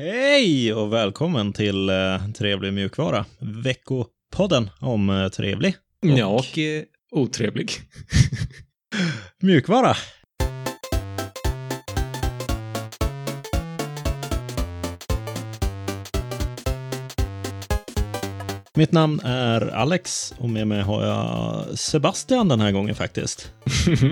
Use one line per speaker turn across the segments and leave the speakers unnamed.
Hej och välkommen till eh, Trevlig mjukvara, veckopodden om eh, trevlig
Ja, och eh, otrevlig.
mjukvara. Mitt namn är Alex och med mig har jag Sebastian den här gången faktiskt.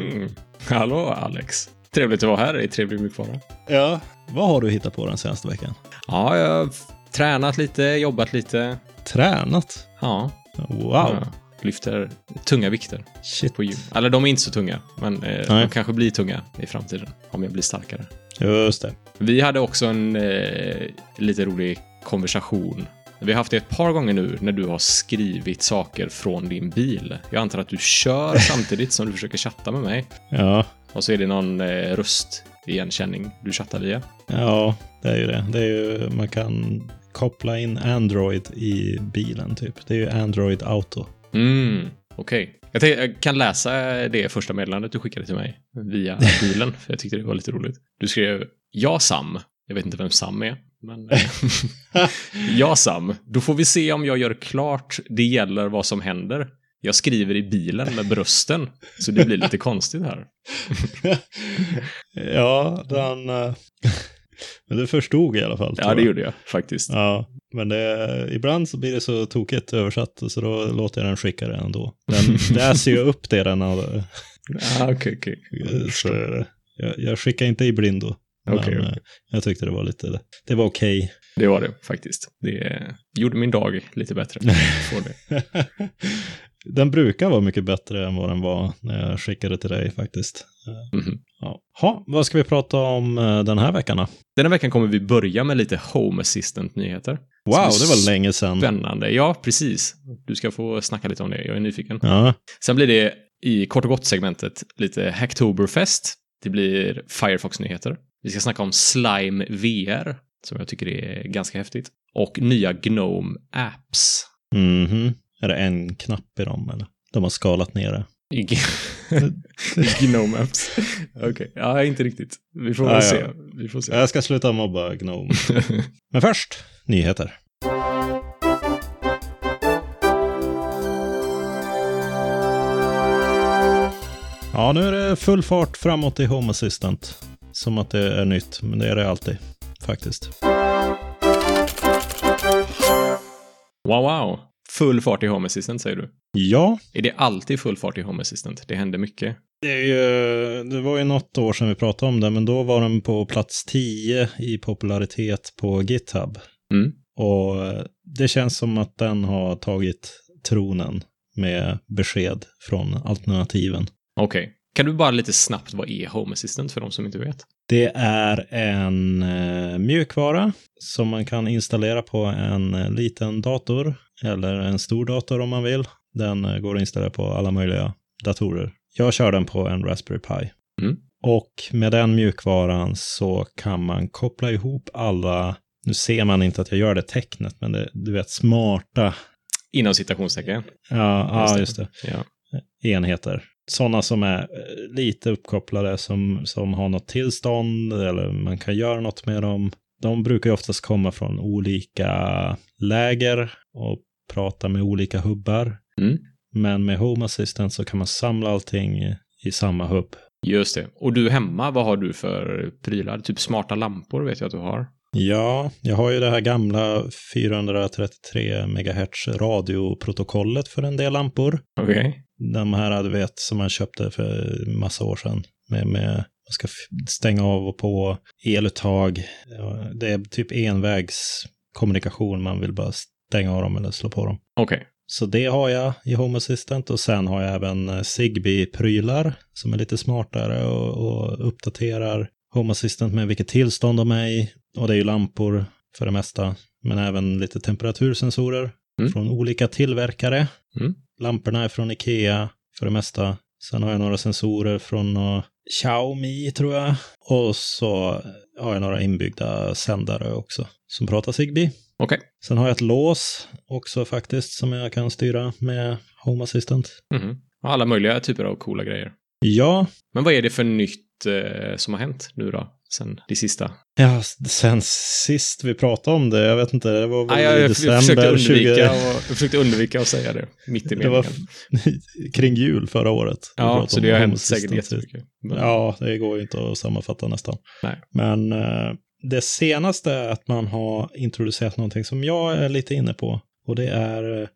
Hallå Alex. Trevligt att vara här i Trevlig mjukvara.
Ja. Vad har du hittat på den senaste veckan?
Ja, jag har f- tränat lite, jobbat lite.
Tränat?
Ja.
Wow.
ja. Lyfter tunga vikter
Shit.
på gym. Eller de är inte så tunga, men eh,
Nej.
de kanske blir tunga i framtiden om jag blir starkare.
Just det.
Vi hade också en eh, lite rolig konversation. Vi har haft det ett par gånger nu när du har skrivit saker från din bil. Jag antar att du kör samtidigt som du försöker chatta med mig.
Ja.
Och så är det någon eh, röstigenkänning du chattar via.
Ja, det är ju det. det är ju, man kan koppla in Android i bilen typ. Det är ju Android Auto.
Mm, okej. Jag, tänker- jag kan läsa det första meddelandet du skickade till mig via bilen, för jag tyckte det var lite roligt. Du skrev “Ja, Sam”. Jag vet inte vem Sam är, men... eh, “Ja, Sam. Då får vi se om jag gör klart det gäller vad som händer. Jag skriver i bilen med brösten, så det blir lite konstigt här.”
ja, den... eh, men du förstod i alla fall. tror
Ja, det
jag.
gjorde jag faktiskt.
Ja, men det, ibland så blir det så tokigt översatt så då låter jag den skicka det ändå. Den läser ju upp det den har. eh,
Ah, okej, okej.
Så, jag, jag skickar inte i blindo. Men
Okej,
eh, jag tyckte det var lite, det var okej.
Det var det faktiskt. Det eh, gjorde min dag lite bättre. Får det.
den brukar vara mycket bättre än vad den var när jag skickade till dig faktiskt.
Mhm.
Ja. Ha, vad ska vi prata om eh, den här veckan då?
Den här veckan kommer vi börja med lite Home Assistant-nyheter.
Wow, det var
s-
länge sedan.
Spännande. Ja, precis. Du ska få snacka lite om det. Jag är nyfiken.
Ja,
Sen blir det i kort och gott-segmentet lite Hacktoberfest. Det blir Firefox-nyheter. Vi ska snacka om Slime VR, som jag tycker är ganska häftigt. Och nya Gnome Apps.
mhm. Är det en knapp i dem eller? De har skalat ner det.
I G- I Gnome Apps. Okej, ja, inte riktigt. Vi får
Ja,
väl
ja.
se. Vi får se.
Jag ska sluta mobba Gnome. Men först, nyheter. Ja, nu är det full fart framåt i Home Assistant. Som att det är nytt, men det är det alltid faktiskt.
Wow, wow. Full fart i Home Assistant, säger du.
Ja,
Är det alltid full fart i Home Assistant? Det händer mycket.
det, är ju, det var ju något år sedan vi pratade om det, men då var den på plats 10 i popularitet på GitHub.
Mm.
Och eh, det känns som att den har tagit tronen med besked från alternativen.
Okej. Kan du bara lite snabbt, vad är Home Assistant för de som inte vet?
Det är en eh, mjukvara som man kan installera på en eh, liten dator eller en stor dator om man vill. Den eh, går att installera på alla möjliga datorer. Jag kör den på en Raspberry Pi.
Mm.
Och med den mjukvaran så kan man koppla ihop alla, nu ser man inte att jag gör det tecknet, men det, du vet smarta,
Inom citationstecken.
ja,
Just
ja
det.
just det
Ja.
enheter. Sådana som är eh, lite uppkopplade, som, som har något tillstånd eller man kan göra något med dem. De brukar ju oftast komma från olika läger och prata med olika hubbar.
Mm.
Men med Home Assistant så kan man samla allting i samma hubb.
Just det. Och du hemma, vad har du för prylar? Typ smarta lampor vet jag att du har.
Ja, jag har ju det här gamla 433 MHz radioprotokollet för en del lampor.
Okej.
de här du vet som man köpte för massa år sedan. Med, med, man ska f- stänga av och på eluttag. Ja, Det är typ envägskommunikation, man vill bara stänga av dem eller slå på dem.
Okej.
Så det har jag i Home Assistant och sen har jag även eh, Zigbee-prylar som är lite smartare och, och uppdaterar Home Assistant med vilket tillstånd de är i. Och det är ju lampor för det mesta, men även lite temperatursensorer
Mm.
från olika tillverkare.
Mm.
Lamporna är från Ikea för det mesta. Sen har jag några sensorer från eh, Xiaomi tror jag. Och så har jag några inbyggda sändare också som pratar Zigbee.
Okej.
Sen har jag ett lås också faktiskt som jag kan styra med Home Assistant.
Mhm. Ja, Alla möjliga typer av coola grejer.
Ja,
Men vad är det för nytt eh, som har hänt nu då? sen det sista.
Ja, sen sist vi pratade om det, jag vet inte, det var väl
Nej, jag,
i
jag försökte
december 20...
undvika och, jag försökte undvika att säga det mitt i
Det var
meningen.
kring jul förra året. Vi
Ja,
pratade
så
om
det har
Homo
hänt
Sistan
säkert
sist.
jättemycket. Men,
Ja, det går ju inte att sammanfatta nästan.
Nej.
Men eh, det senaste är att man har introducerat någonting som jag är lite inne på. Och det är eh,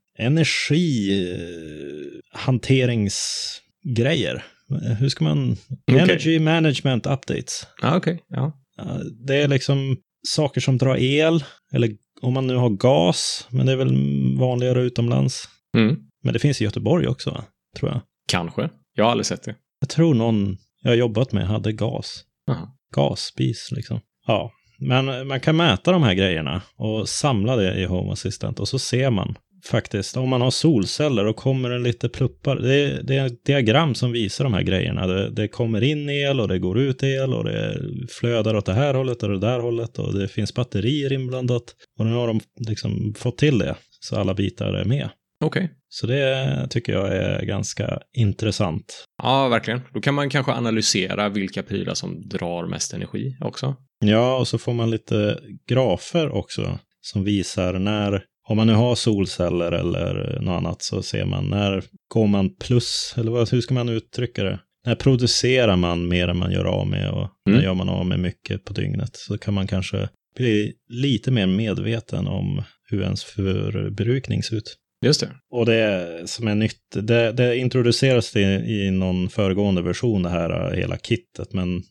energihanteringsgrejer. Eh, Hur ska man...
Okej.
Energy management updates.
Ja, okej. Ja.
Eh, Det är liksom saker som drar el, eller om man nu har gas, men det är väl vanligare utomlands.
Mm.
Men det finns i Göteborg också, va? tror jag.
Kanske. Jag har aldrig sett det.
Jag tror någon jag jobbat med hade gas.
Jaha.
Gasspis liksom. Ja, men eh, man kan mäta de här grejerna och samla det i Home Assistant och så ser man faktiskt om man har solceller och kommer en lite pluppar. Det, det är ett diagram som visar de här grejerna. Det, det kommer in el och det går ut el och det flödar åt det här hållet och det där hållet och det finns batterier inblandat. Och nu har de liksom fått till det så alla bitar är med.
Okej.
Så det tycker jag är ganska intressant.
Ja, verkligen. Då kan man kanske analysera vilka prylar som drar mest energi också.
Ja, och så får man lite grafer också som visar när, om man nu har solceller eller något annat, så ser man när går man plus, eller vad, hur ska man uttrycka det? När producerar man mer än man gör av med och när
Mm.
gör man av med mycket på dygnet? Så kan man kanske bli lite mer medveten om hur ens förbrukning ser ut.
Just det.
Och det som är nytt, det, det introduceras i, i någon föregående version det här eh, hela kittet, men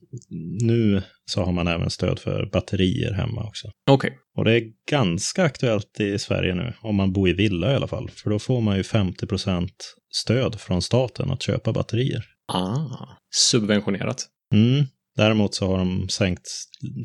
nu så har man även stöd för batterier hemma också.
Okej.
Och det är ganska aktuellt i Sverige nu, om man bor i villa i alla fall, för då får man ju 50% stöd från staten att köpa batterier.
Ah, subventionerat.
Mm. Däremot så har de sänkt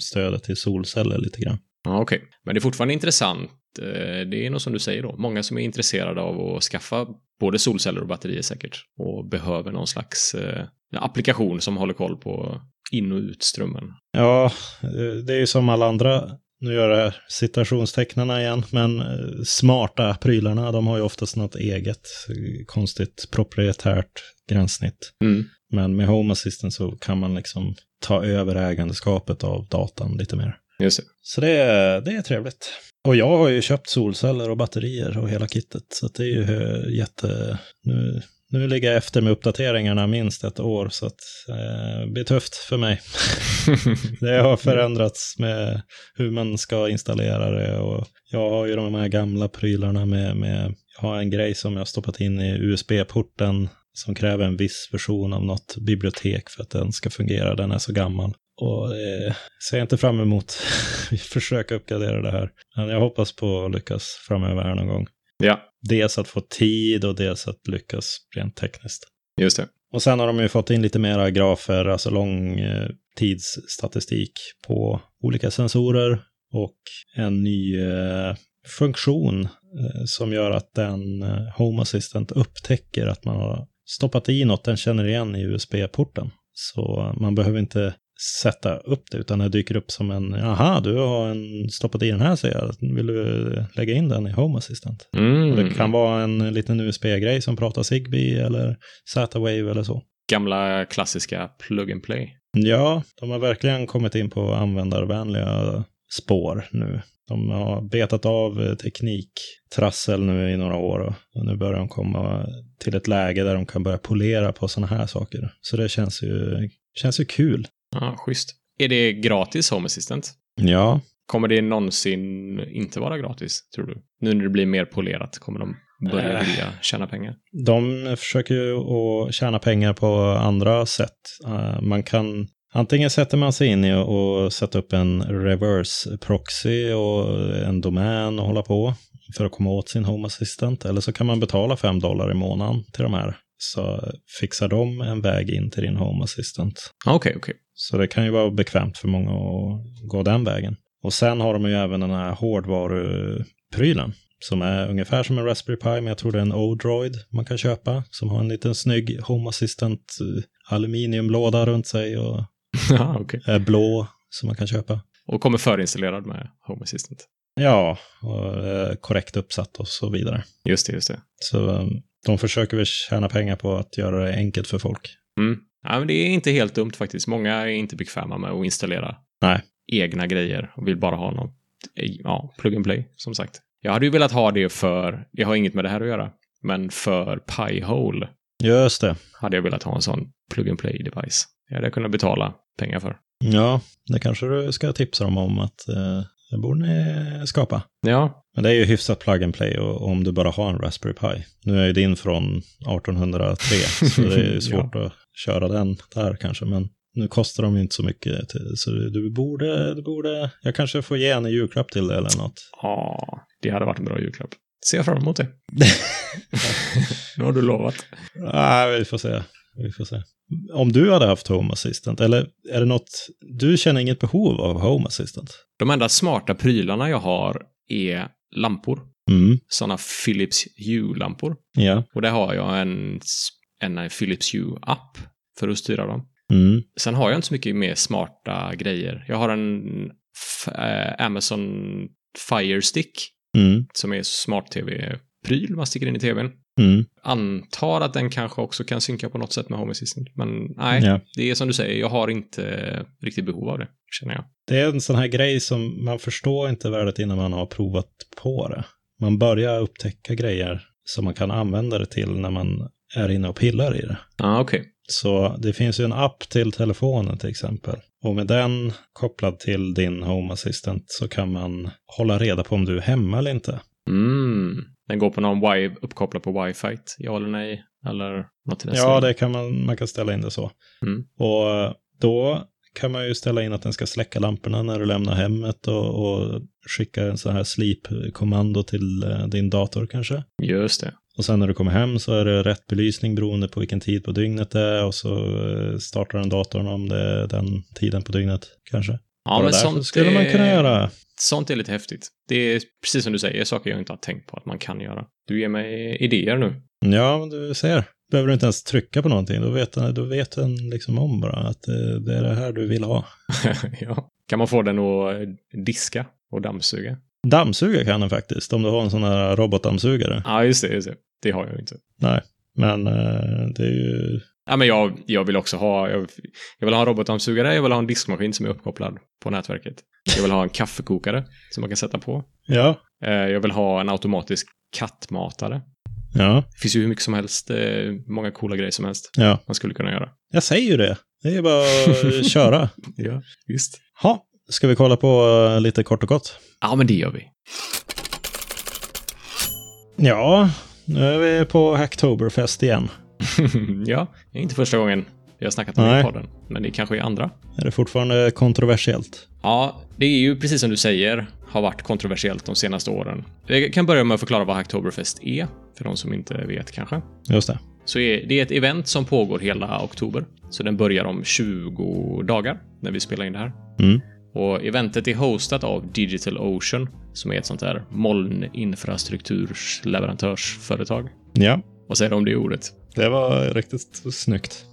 stödet till solceller lite grann.
Ja, Okej, men det är fortfarande intressant. Eh, Det är nog som du säger då, många som är intresserade av att skaffa både solceller och batterier säkert och behöver någon slags eh, applikation som håller koll på in och utströmmen.
Ja, eh, det är ju som alla andra, nu gör jag det här citationstecknarna igen, men eh, smarta prylarna, de har ju oftast något eget eh, konstigt proprietärt gränssnitt.
Mm.
Men med Home Assistant så kan man liksom ta över ägandeskapet av datan lite mer.
Just det.
Så det, är- det är trevligt. Och jag har ju köpt solceller och batterier och hela kittet, så att det är ju eh, jätte... Nu, nu ligger jag efter med uppdateringarna minst ett år, så att eh, det blir tufft för mig. Det har förändrats med hur man ska installera det och jag har ju de här gamla prylarna med, med jag har en grej som jag har stoppat in i USB-porten som kräver en viss version av något bibliotek för att den ska fungera, den är så gammal. Och eh, ser jag inte fram emot att försöka uppgradera det här. Men jag hoppas på att lyckas framöver här någon gång.
ja,
Dels att få tid och dels att lyckas rent tekniskt.
just det.
Och sen har de ju fått in lite mera grafer, alltså lång eh, tidsstatistik på olika sensorer och en ny eh, funktion eh, som gör att den eh, Home Assistant upptäcker att man har stoppat i något den känner igen i USB-porten. Så man behöver inte sätta upp det, utan det dyker upp som en, aha, du har en, stoppat i den här, säger jag, vill du eh, lägga in den i Home Assistant?
Mm.
Det kan vara en liten USB-grej som pratar Zigbee eller Z-Wave eller så.
Gamla klassiska plug and play.
Ja, de har verkligen kommit in på användarvänliga spår nu. De har betat av eh, tekniktrassel nu i några år och nu börjar de komma till ett läge där de kan börja polera på sådana här saker. Så det känns ju, känns ju kul.
Ja, schysst. Är det gratis Home Assistant?
Ja,
Kommer det någonsin inte vara gratis, tror du? Nu när det blir mer polerat, kommer de börja
Äh.
vilja tjäna pengar?
De försöker ju att tjäna pengar på andra sätt. Eh, Man kan Antingen sätter man sig in i och sätta upp en reverse proxy och en domän och hålla på för att komma åt sin Home Assistant. Eller så kan man betala 5 dollar i månaden till de här. Så fixar de en väg in till din Home Assistant.
Ja, Ah, Okej, okej.
Så det kan ju vara bekvämt för många att gå den vägen. Och sen har de ju även den här hårdvaruprylen som är ungefär som en Raspberry Pi, men jag tror det är en O-Droid man kan köpa som har en liten snygg Home Assistant eh, aluminiumlåda runt sig och
Ja, Ah, okej.
är blå som man kan köpa.
Och kommer förinstallerad med Home Assistant.
Ja, och eh, korrekt uppsatt och så vidare.
Just det, just det.
Så eh, de försöker väl tjäna pengar på att göra det enkelt för folk.
Mm. Ja, men det är inte helt dumt faktiskt. Många är inte bekväma med att installera
Nej.
egna grejer och vill bara ha någon. Ja, plug and play, som sagt. Jag hade ju velat ha det för, det har inget med det här att göra, men för Pi-hole
Just det.
hade jag velat ha en sån plug and play device. Det hade jag kunnat betala pengar för.
Ja, det kanske du ska tipsa dem om att eh, det borde ni skapa.
Ja,
Men det är ju hyfsat plug and play och, om du bara har en Raspberry Pi. Nu är ju din från 1803, så det är ju svårt att köra den där kanske. Men nu kostar de ju inte så mycket, till, så du borde, du borde... Jag kanske får ge en i julklapp till dig eller något.
ah, det hade varit en bra julklapp. Ser jag fram emot det. nu har du lovat.
Nej, Ah, vi får se. Vi får se. Om du hade haft Home Assistant, eller är det något... Du känner inget behov av Home Assistant?
De enda smarta prylarna jag har är lampor.
Mm,
Sådana Philips Hue-lampor.
ja.
Och där har jag en, en Philips Hue-app för att styra dem.
Mm,
Sen har jag inte så mycket mer smarta grejer. Jag har en f- eh, Amazon Fire Stick
mm,
som är smart-tv-pryl man sticker in i tvn.
mm.
Antar att den kanske också kan synka på något sätt med Home Assistant. Men nej,
Ja.
det är som du säger, jag har inte eh, riktigt behov av det, känner jag.
Det är en sån här grej som man förstår inte värdet innan man har provat på det. Man börjar upptäcka grejer som man kan använda det till när man är inne och pillar i det.
Ja, ah, okej.
Så det finns ju en app till telefonen till exempel. Och med den kopplad till din Home Assistant så kan man hålla reda på om du är hemma eller inte.
Mm. Den går på någon wi- uppkopplad på wifi, ja eller nej, eller något i den
Ja,
stilen.
det kan man, man kan ställa in det så.
Alltså- Mm.
Och eh, då kan man ju ställa in att den ska släcka lamporna när du lämnar hemmet och, och skicka en sån här sleep-kommando till eh, din dator kanske.
Just det.
Och sen när du kommer hem så är det rätt belysning beroende på vilken tid på dygnet det är och så eh, startar den datorn om det är den tiden på dygnet kanske.
Ja,
och
men
det där
sånt
skulle man
är-
kunna göra.
Sånt är lite häftigt. Det är precis som du säger, saker jag inte har tänkt på att man kan göra. Du ger mig idéer nu.
Ja, men du ser. Behöver du inte ens trycka på någonting, då vet den, då vet den liksom om bara att eh, det är det här du vill ha.
ja. Kan man få den att eh, diska och dammsuga?
Dammsuga kan den faktiskt, om du har en sån här robotdammsugare.
Ja, just det. Just det. det har jag ju inte.
Men eh, det är ju...
Ja, men jag, jag vill också ha, jag, jag vill ha en robotdammsugare, jag vill ha en diskmaskin som är uppkopplad på nätverket. Jag vill ha en kaffekokare som man kan sätta på.
Ja.
Eh, Jag vill ha en automatisk kattmatare.
Ja.
Det finns ju hur mycket som helst, eh, många coola grejer som helst
Ja.
man skulle kunna göra.
Jag säger ju det. Det är bara att köra.
Ja, visst.
Ha. Ska vi kolla på eh, lite kort och gott?
Ja, men det gör vi.
Ja, nu är vi på Hacktoberfest igen.
ja, det är inte första gången vi har snackat om det
Nej.
i podden, men det kanske är andra.
Är det fortfarande kontroversiellt?
Ja, det är ju precis som du säger, har varit kontroversiellt de senaste åren. Jag kan börja med att förklara vad Hacktoberfest är, för de som inte vet kanske.
Just det.
Så är, det är ett event som pågår hela oktober, så den börjar om 20 dagar när vi spelar in det här.
Mm.
Och eventet är hostat av Digital Ocean, som är ett sånt där molninfrastruktursleverantörsföretag.
Ja,
Vad säger du om det ordet?
det var riktigt snyggt.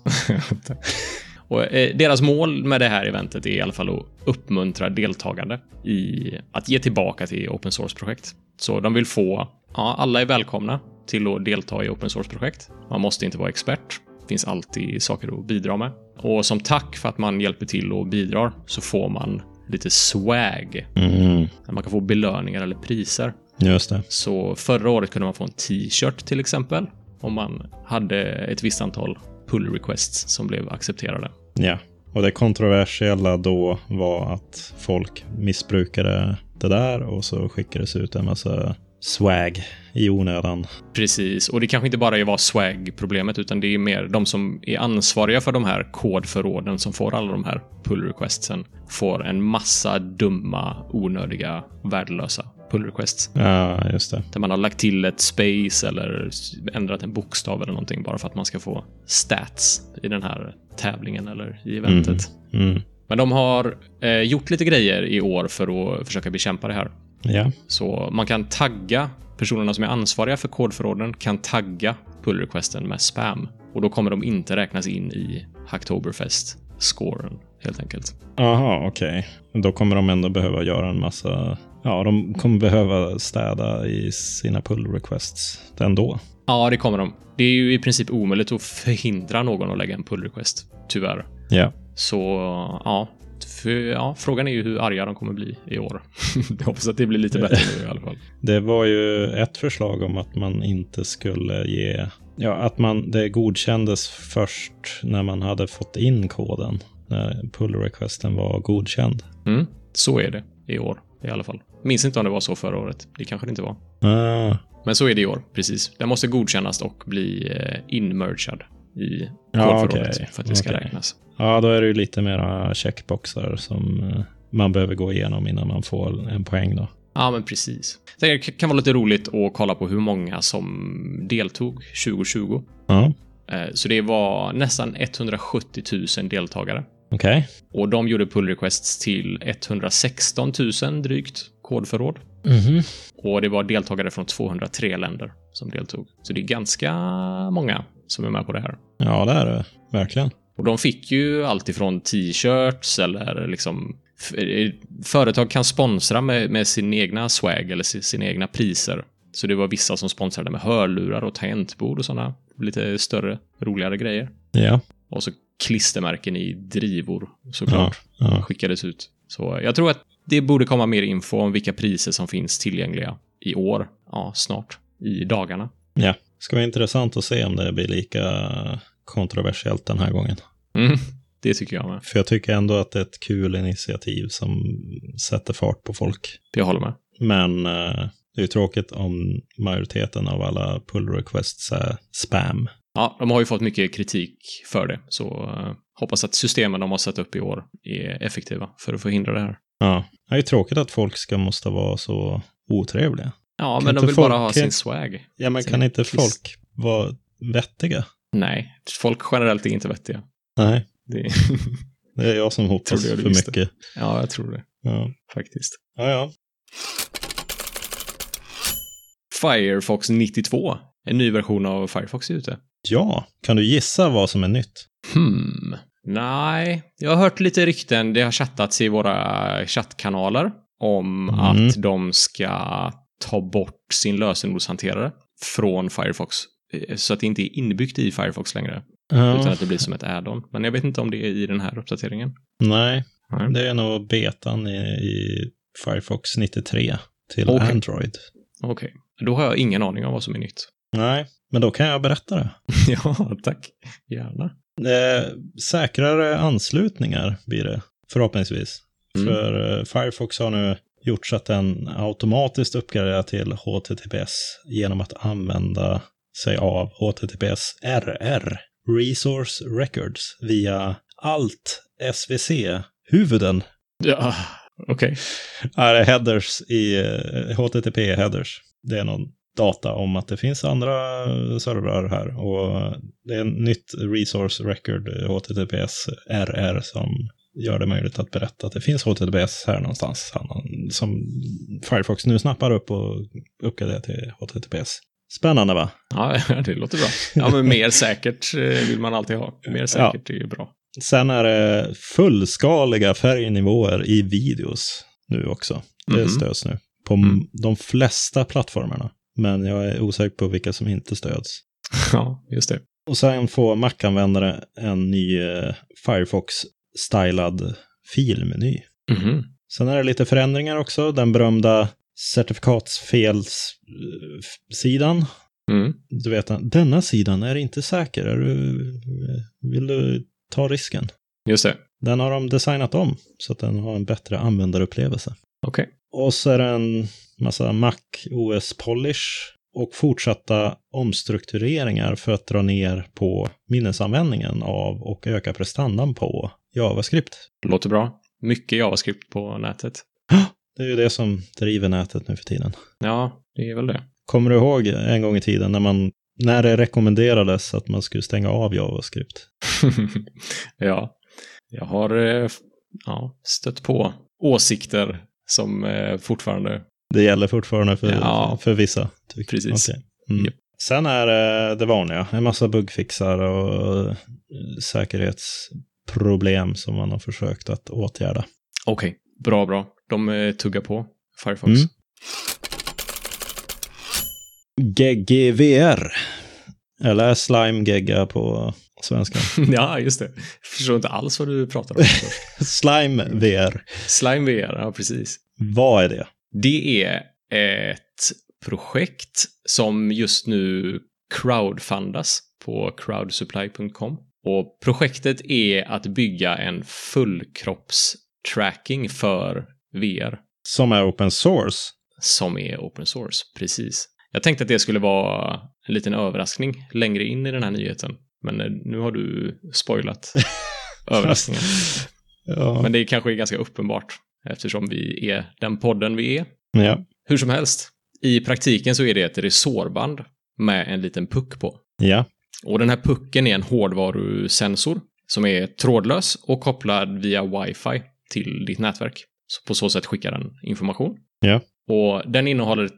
Och, eh, deras mål med det här eventet är i alla fall att uppmuntra deltagande i att ge tillbaka till open source-projekt. Så de vill få, ja, alla är välkomna till att delta i open source-projekt. Man måste inte vara expert. Det finns alltid saker att bidra med. Och som tack för att man hjälper till och bidrar så får man lite swag.
Mm.
Man kan få belöningar eller priser.
Just det.
Så förra året kunde man få en t-shirt till exempel om man hade ett visst antal pull requests som blev accepterade.
Ja, och det kontroversiella då var att folk missbrukade det där och så skickades ut en massa swag i onödan.
Precis, och det kanske inte bara var swag-problemet, utan det är mer de som är ansvariga för de här kodförråden som får alla de här pull requestsen får en massa dumma, onödiga, värdelösa pull requests.
Ja, just det.
Där man har lagt till ett space eller s- ändrat en bokstav eller någonting bara för att man ska få stats i den här tävlingen eller i eventet.
Mm.
Men de har eh, gjort lite grejer i år för att försöka bekämpa det här.
Ja.
Så man kan tagga personerna som är ansvariga för kodförråden kan tagga pull requesten med spam och då kommer de inte räknas in i Hacktoberfest scoren helt enkelt.
Aha, okej. Då kommer de ändå behöva göra en massa... Ja, de kommer behöva städa i sina pull requests ändå.
Ja, det kommer de. Det är ju i princip omöjligt att förhindra någon att lägga en pull request, tyvärr.
Ja.
Så ja, För, ja, frågan är ju hur arga de kommer bli i år. jag hoppas att det blir lite bättre nu i alla fall.
Det var ju ett förslag om att man inte skulle ge... Ja, att man, det godkändes först när man hade fått in koden. När pull-requesten var godkänd.
Mm, så är det i år i alla fall. Minns inte om det var så förra året. Det kanske det inte var.
Ah,
Men så är det i år, precis. Den måste godkännas och bli eh, inmergad i
Ja,
kodförrådet
okej.
för att det ska
Okej.
räknas.
ja, då är det ju lite mera checkboxar som eh, man behöver gå igenom innan man får en poäng då.
Ja, men precis. Det kan vara lite roligt att kolla på hur många som deltog 2020.
Ja,
Eh, Så det var nästan 170 000 deltagare.
okej.
Och de gjorde pull requests till 116 000 drygt kodförråd.
Mhm.
Och det var deltagare från 203 länder som deltog. Så det är ganska många som är med på det här.
Ja, det är det. Verkligen.
Och de fick ju allt ifrån t-shirts eller liksom f- Företag kan sponsra med, med sin egna swag eller si- sina egna priser. Så det var vissa som sponsrade med hörlurar och tangentbord och sådana lite större, roligare grejer.
Ja.
Och så klistermärken i drivor såklart
ja.
skickades ut. Så jag tror att det borde komma mer info om vilka priser som finns tillgängliga i år. Ja, snart. I dagarna.
Ja, ska vara intressant att se om det blir lika kontroversiellt den här gången.
Mm, det tycker jag med.
För jag tycker ändå att det är ett kul initiativ som sätter fart på folk.
Jag håller med.
Men eh, det är ju tråkigt om majoriteten av alla pull requests är spam.
Ja, de har ju fått mycket kritik för det, så eh, hoppas att systemen de har satt upp i år är effektiva för att förhindra det här.
Ja, det är ju tråkigt att folk ska måste vara så otrevliga.
Ja,
Kan
men de
inte
vill
folk-
bara ha
kan-
sin swag.
Ja, men
Så
kan
det är
inte
kiss.
folk vara vettiga?
Nej, folk generellt är inte vettiga.
Nej,
Det...
det är jag som hoppas
Trodde jag du
för
visste.
mycket.
ja, jag tror det
Ja.
faktiskt.
ja, ja.
Firefox 92, en ny version av Firefox är ute.
Ja, kan du gissa vad som är nytt?
Hmm. Nej, jag har hört lite rykten. Det har chattats i våra chattkanaler om
Mm.
att de ska ta bort sin lösenordshanterare från Firefox. eh, Så att det inte är inbyggt i Firefox längre. Utan
Ja,
att det blir som ett add-on. Men jag vet inte om det är i den här uppdateringen.
nej,
Nej.
Det är nog betan i, i Firefox 93 till
Okej.
Android.
Okej, då har jag ingen aning om vad som är nytt.
Nej, men då kan jag berätta det.
ja, tack. Gärna.
Eh, säkrare anslutningar blir det, förhoppningsvis.
Mm.
För eh, Firefox har nu gjort så att den automatiskt uppgraderar till HTTPS genom att använda sig av HTTPS RR, Resource Records, via allt SVC-huvuden.
Ja, okej.
är det headers i eh, HTTP headers. Det är någon data om att det finns andra eh, servrar här och eh, det är en nytt resource record eh, HTTPS RR som gör det möjligt att berätta att det finns HTTPS här någonstans han- som Firefox nu snappar upp och uppgraderar till HTTPS. Spännande va?
Ja, det låter bra. Ja, men mer säkert eh, vill man alltid ha. Mer säkert är ju bra.
Sen är det fullskaliga färgnivåer i videos nu också. Det
Mhm.
stöds nu på
Mm.
de flesta plattformarna. Men jag är osäker på vilka som inte stöds.
Ja, just det.
Och sen får Mac-användare en ny eh, Firefox-stylad filmeny.
Mhm.
Sen är det lite förändringar också. Den berömda certifikatsfelssidan.
Mm.
Du vet, denna sidan är inte säker. Är du, vill du ta risken?
Just det.
Den har de designat om så att den har en bättre användarupplevelse.
Okej.
Och så är det en massa Mac OS Polish och fortsatta omstruktureringar för att dra ner på minnesanvändningen av och öka prestandan på JavaScript.
Låter bra. Mycket JavaScript på nätet.
Det är ju det som driver nätet nu för tiden.
Ja, det är väl det.
Kommer du ihåg en gång i tiden när, man, när det rekommenderades att man skulle stänga av JavaScript?
ja, jag har eh, f- ja, stött på åsikter som eh, fortfarande...
Det gäller fortfarande för,
Ja.
för vissa. tycker-
Precis.
Okej. Mm.
Japp.
Sen är eh, det det vanliga, en massa bugfixar och eh, säkerhetsproblem som man har försökt att åtgärda.
Okej, bra, bra. De eh, tuggar på, Firefox.
Mm. GGVR, eller Slime Gegga på svenska.
ja, just det. Jag förstår inte alls vad du pratar om. först.
Slime VR.
Slime VR, ja precis.
Vad är det?
Det är ett projekt som just nu crowdfundas på crowdsupply.com. Och projektet är att bygga en fullkroppstracking för VR
Som är open source.
som är open source. Precis. Jag tänkte att det skulle vara en liten överraskning längre in i den här nyheten. Men eh, nu har du spoilat överraskningen.
Ja.
Men det kanske är ganska uppenbart eftersom vi är den podden vi är.
ja.
Hur som helst, i praktiken så är det ett resårband med en liten puck på.
Ja.
Och den här pucken är en hårdvarusensor som är trådlös och kopplad via wifi till ditt nätverk. Så på så sätt skickar den information.
Ja.
Och den innehåller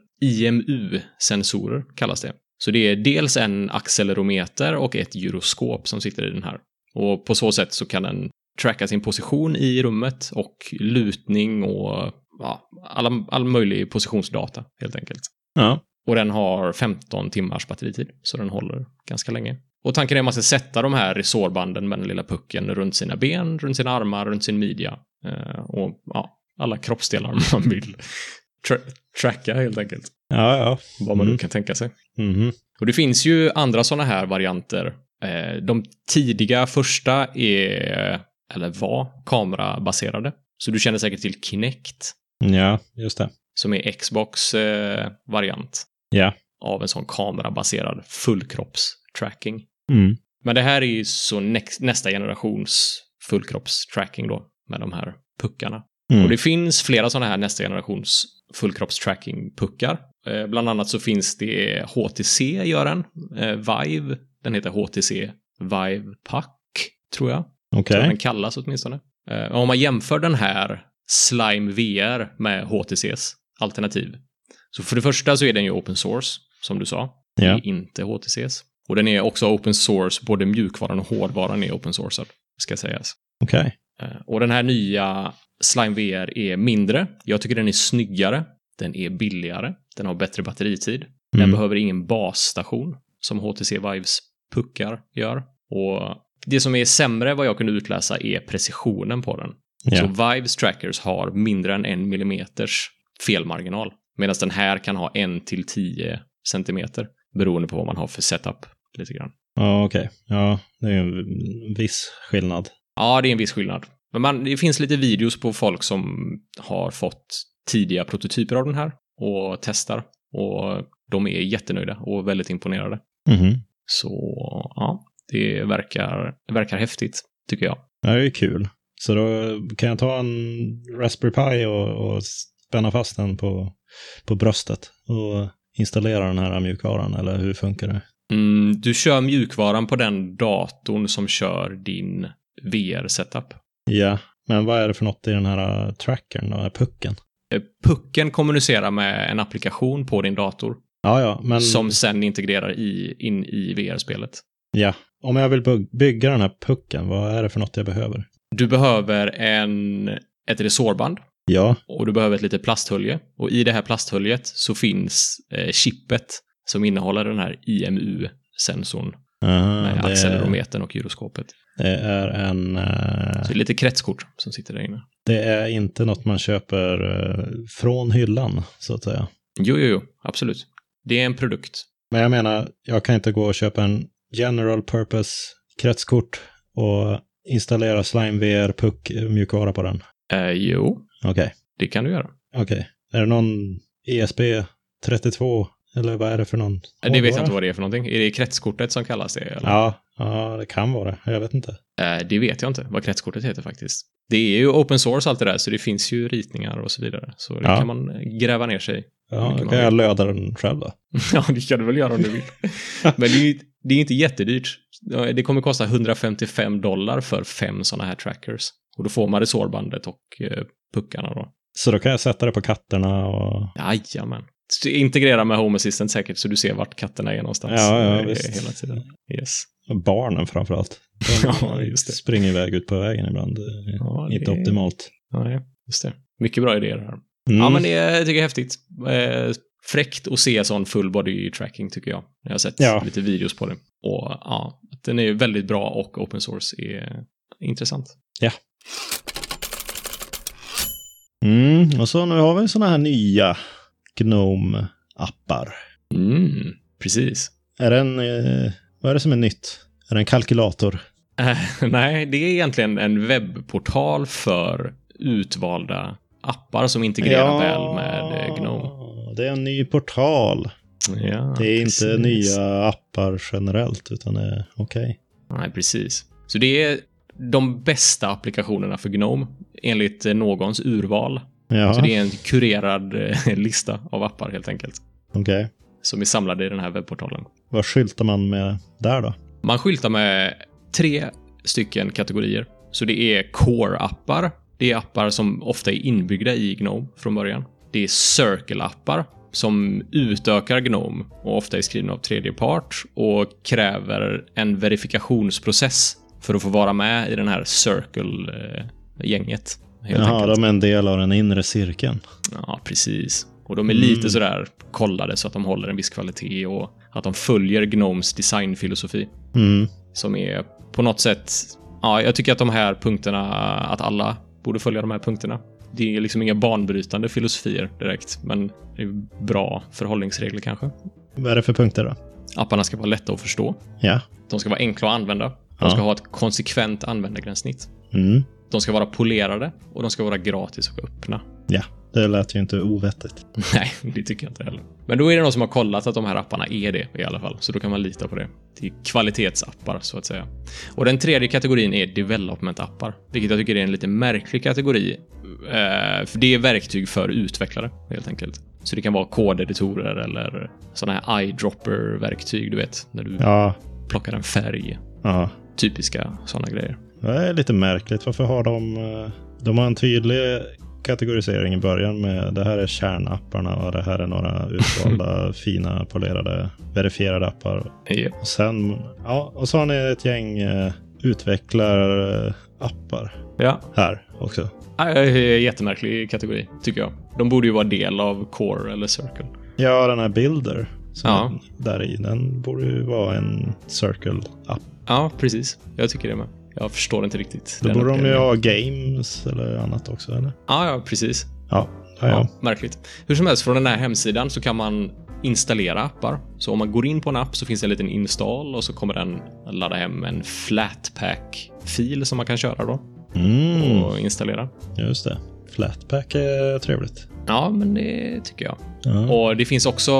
IMU-sensorer, kallas det. Så det är dels en accelerometer och ett gyroskop som sitter i den här. Och på så sätt så kan den tracka sin position i rummet och lutning och ja, all, all möjlig positionsdata helt enkelt.
Ja.
Och den har 15 timmars batteritid, så den håller ganska länge. Och tanken är att man ska sätta de här resårbanden med den lilla pucken runt sina ben, runt sina armar, runt sin midja eh, och ja, alla kroppsdelar man vill tra- tracka helt enkelt.
Ja. ja.
Vad man
Mm.
nu kan tänka sig.
Mhm.
Och det finns ju andra sådana här varianter. Eh, De tidiga första är, eller var, kamerabaserade. Så du känner säkert till Kinect
Ja, just det.
som är Xbox eh, variant
Ja.
av en sån kamerabaserad fullkroppstracking.
Mm.
Men det här är ju så näx- nästa generations fullkroppstracking då med de här puckarna.
Mm.
Och det finns flera sådana här nästa generations fullkroppstracking-puckar. Eh, bland annat så finns det HTC gör en, eh, Vive, den heter HTC Vive Pack, tror jag.
Okej.
Tror jag den kallas åtminstone. Eh, om man jämför den här Slime VR med HTCs alternativ. Så för det första så är den ju open source, som du sa. Det
Ja.
är inte HTCs. Och den är också open source, både mjukvaran och hårdvaran är open sourced, ska sägas.
Okej.
Eh, Och den här nya Slime VR är mindre. Jag tycker den är snyggare. Den är billigare. Den har bättre batteritid. Den
Mm.
behöver ingen basstation som HTC Vives puckar gör. Och det som är sämre vad jag kunde utläsa är precisionen på den. Så
Ja.
Vives trackers har mindre än en millimeters felmarginal. Medan den här kan ha en till 10 centimeter beroende på vad man har för setup. Lite grann.
Ja, okej. Ja, det är ju en viss skillnad.
Ja, det är en viss skillnad. Men man, det finns lite videos på folk som har fått tidiga prototyper av den här och testar. Och de är jättenöjda och väldigt imponerade.
Mhm.
Så ja, det verkar, verkar häftigt, tycker jag.
Det här är ju kul. Så då kan jag ta en Raspberry Pi och, och spänna fast den på, på bröstet och installera den här mjukvaran, eller hur funkar det?
Mm, du kör mjukvaran på den datorn som kör din VR-setup.
Ja, men vad är det för något i den här eh, trackern då, pucken?
Eh, Pucken kommunicerar med en applikation på din dator
Ja, ja, men
som sen integrerar i, in i VR-spelet.
ja. om jag vill bu- bygga den här pucken, vad är det för något jag behöver?
Du behöver en, ett resårband
Ja,
och du behöver ett litet plasthölje. Och i det här plasthöljet så finns eh, chippet som innehåller den här IMU-sensorn
Aha,
med
det,
accelerometern och gyroskopet.
det är en... eh,
Så det är lite kretskort som sitter där inne.
Det är inte något man köper eh, från hyllan, så att säga.
Jo, jo, jo, absolut. Det är en produkt.
Men jag menar, jag kan inte gå och köpa en general purpose kretskort och installera slime VR puck mjukvara på den.
Eh, jo,
Okej,
det kan du göra. Eh,
okej. Är det någon E ESP 32 eller vad är det för någon?
Eh, det vet jag
hårdvara?
inte vad det är för någonting. Är det kretskortet som kallas det? Eller?
Ja, ja, det kan vara det. Jag vet inte.
Eh, det vet jag inte vad kretskortet heter faktiskt. Det är ju open source allt det där, så det finns ju ritningar och så vidare. Så det
Ja.
kan man eh, gräva ner sig i.
Ja,
Mycket
då kan
man
jag löda den själv då.
Ja, det kan du väl göra om du vill. Men det är ju det är inte jättedyrt. Det kommer kosta 155 dollar för fem sådana här trackers. Och då får man resårbandet och eh, puckarna då.
Så då kan jag sätta det på katterna och...
Jajamän. Så Integrera med Home Assistant säkert så du ser vart katterna är någonstans.
Ja, ja,
eh,
visst.
Hela tiden. Yes.
Barnen framförallt.
Ja, just det.
Springer iväg ut på vägen ibland. Det är
Ja, det
Inte
är-
optimalt.
Nej, just det. Mycket bra idéer här.
Mm.
Ja, men det är, jag tycker jag är häftigt. Eh, fräckt att se sån full body tracking tycker jag. Jag har sett
Ja.
lite videos på det. Och ja, Den är ju väldigt bra och open source är intressant.
Mm, och så nu har vi sådana här nya Gnome-appar.
Mm, precis.
Är den, eh, vad är det som är nytt? Är det en kalkylator?
Eh, Nej, det är egentligen en webbportal för utvalda appar som integrerar väl med eh, Gnome.
Det är en ny portal.
Ja,
det är inte
precis.
nya appar generellt, utan det är okej.
Nej, precis. Så det är de bästa applikationerna för Gnome enligt eh, någons urval.
Jaha,
Så
okej.
det är en kurerad eh, lista av appar helt enkelt som är samlade i den här webbportalen.
Vad skyltar man med där då?
Man skyltar med tre stycken kategorier. Så det är Core-appar. Det är appar som ofta är inbyggda i Gnome från början. Det är Circle-appar som utökar Gnome och ofta är skrivna av tredje part och kräver en verifikationsprocess för att få vara med i den här Circle-gänget. helt
Jaha,
enkelt.
de är en del av den inre cirkeln.
Ja, precis. Och de är
Mm.
lite sådär kollade så att de håller en viss kvalitet och att de följer Gnomes designfilosofi
Mm.
som är på något sätt. Ja, jag tycker att de här punkterna, att alla borde följa de här punkterna. Det är liksom inga banbrytande filosofier direkt, men det är bra förhållningsregler kanske.
Vad är det för punkter då?
Apparna ska vara lätta att förstå.
Ja.
De ska vara enkla att använda. De
Ja.
ska ha ett konsekvent användargränssnitt.
Mm.
De ska vara polerade och de ska vara gratis och öppna.
Ja, det lät ju inte ovettigt.
Nej, det tycker jag inte heller. Men då är det någon som har kollat att de här apparna är det i alla fall, så då kan man lita på det. Det är kvalitetsappar så att säga. Och den tredje kategorin är development-appar, vilket jag tycker är en lite märklig kategori. Eh, för det är verktyg för utvecklare helt enkelt. Så det kan vara kodeditorer eller sådana här eyedropper-verktyg, du vet, när du
Ja,
plockar en färg.
ja.
Typiska sådana grejer.
Det är lite märkligt. Varför har de... eh, De har en tydlig kategorisering i början med det här är kärnapparna och det här är några utvalda fina polerade verifierade appar.
Japp.
Och sen, ja, och så har ni ett gäng eh, utvecklarappar
Ja,
här också.
Eh, jättemärklig kategori tycker jag. De borde ju vara del av Core eller Circle.
Ja, den här Builder som
Ja.
är där i, den borde ju vara en Circle-app.
Ja, precis. Jag tycker det med. Jag förstår inte riktigt.
Då
den
borde de ju
uppdelningen.
ha Games eller annat också, eller?
Ja, ja, precis.
Ja, ja,
Ja.
ja.
märkligt. Hur som helst, från den här hemsidan så kan man installera appar. Så om man går in på en app så finns det en liten install och så kommer den ladda hem en Flatpak-fil som man kan köra då
Mm,
och installera.
just det. Flatpak är trevligt.
Ja, men det tycker jag.
Ja.
Och det finns också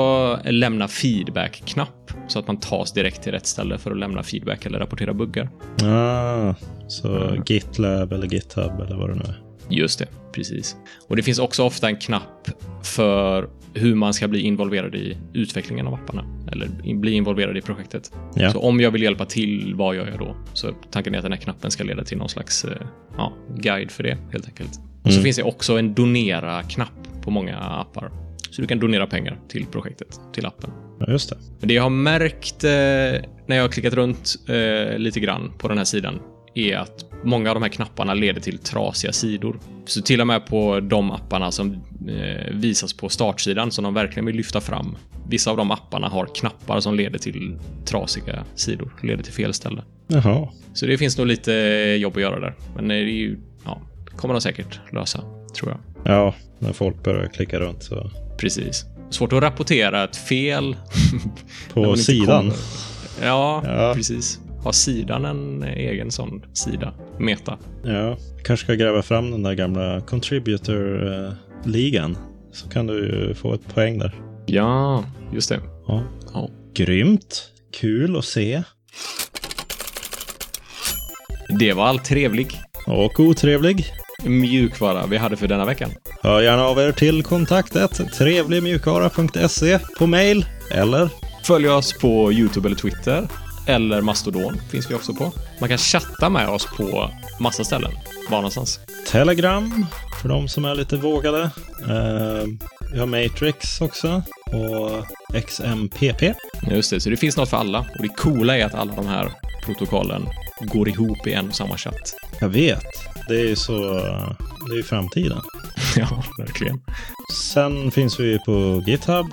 en lämna feedback-knapp så att man tas direkt till rätt ställe för att lämna feedback eller rapportera buggar.
Ah, så GitLab eller GitHub eller vad det nu är.
Just det, precis. Och det finns också ofta en knapp för hur man ska bli involverad i utvecklingen av apparna eller in- bli involverad i projektet.
Ja.
Så om jag vill hjälpa till, vad gör jag då? Så tanken är att den här knappen ska leda till någon slags eh, ja, guide för det helt enkelt. Och så
Mm.
finns det också en donera-knapp på många appar. Så du kan donera pengar till projektet, till appen.
Ja, just det.
Men det jag har märkt eh, när jag har klickat runt eh, lite grann på den här sidan är att många av de här knapparna leder till trasiga sidor. Så till och med på de apparna som eh, visas på startsidan som de verkligen vill lyfta fram. Vissa av de apparna har knappar som leder till trasiga sidor, leder till fel ställe.
Jaha.
Så det finns nog lite eh, jobb att göra där. Men det är ju, ja, kommer de säkert lösa, tror jag.
Ja, när folk börjar klicka runt så.
Precis. Svårt att rapportera ett fel.
På
När man inte
sidan.
kommer. Ja,
Ja.
precis. Har sidan en egen sån sida? Meta.
Ja, kanske ska gräva fram den där gamla Contributor-ligan. Så kan du ju få ett poäng där.
Ja, just det.
Ja.
Ja.
Grymt. Kul att se.
Det var allt trevlig
Och otrevlig.
mjukvara vi hade för denna veckan.
Hör gärna av er till kontaktet trevligmjukvara.se på mail eller
Följ oss på Youtube eller Twitter. Eller Mastodon finns vi också på. Man kan chatta med oss på massa ställen. Var någonstans?
Telegram för de som är lite vågade. Eh, Vi har Matrix också och XMPP.
Just det, så det finns något för alla. Och det coola är att alla de här protokollen går ihop i en och samma chatt.
Jag vet, det är ju så, det är ju framtiden.
Ja, verkligen.
Sen finns vi ju på GitHub,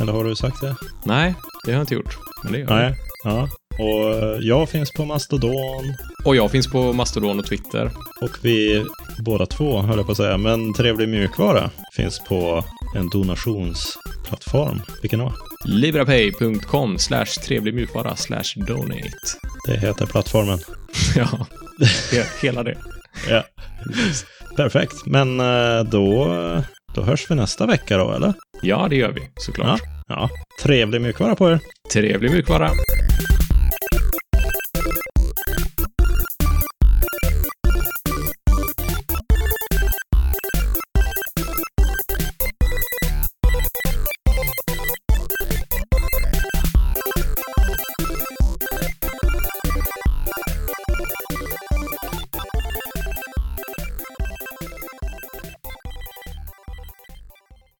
eller har du sagt det?
Nej, det har jag inte gjort. Men det gör jag.
Ja. Och eh, jag finns på Mastodon.
Och jag finns på Mastodon och Twitter.
Och vi båda två, höll jag på att säga, men Trevlig mjukvara finns på en donationsplattform. Vilken då?
Librapay.com slash trevlig mjukvara slash donate.
Det heter plattformen.
Ja, he- hela det.
Ja. Perfekt. Men eh, då, då hörs vi nästa vecka då, eller?
Ja, det gör vi såklart.
Ja. Trevlig mjukvara på er.
Trevlig mjukvara.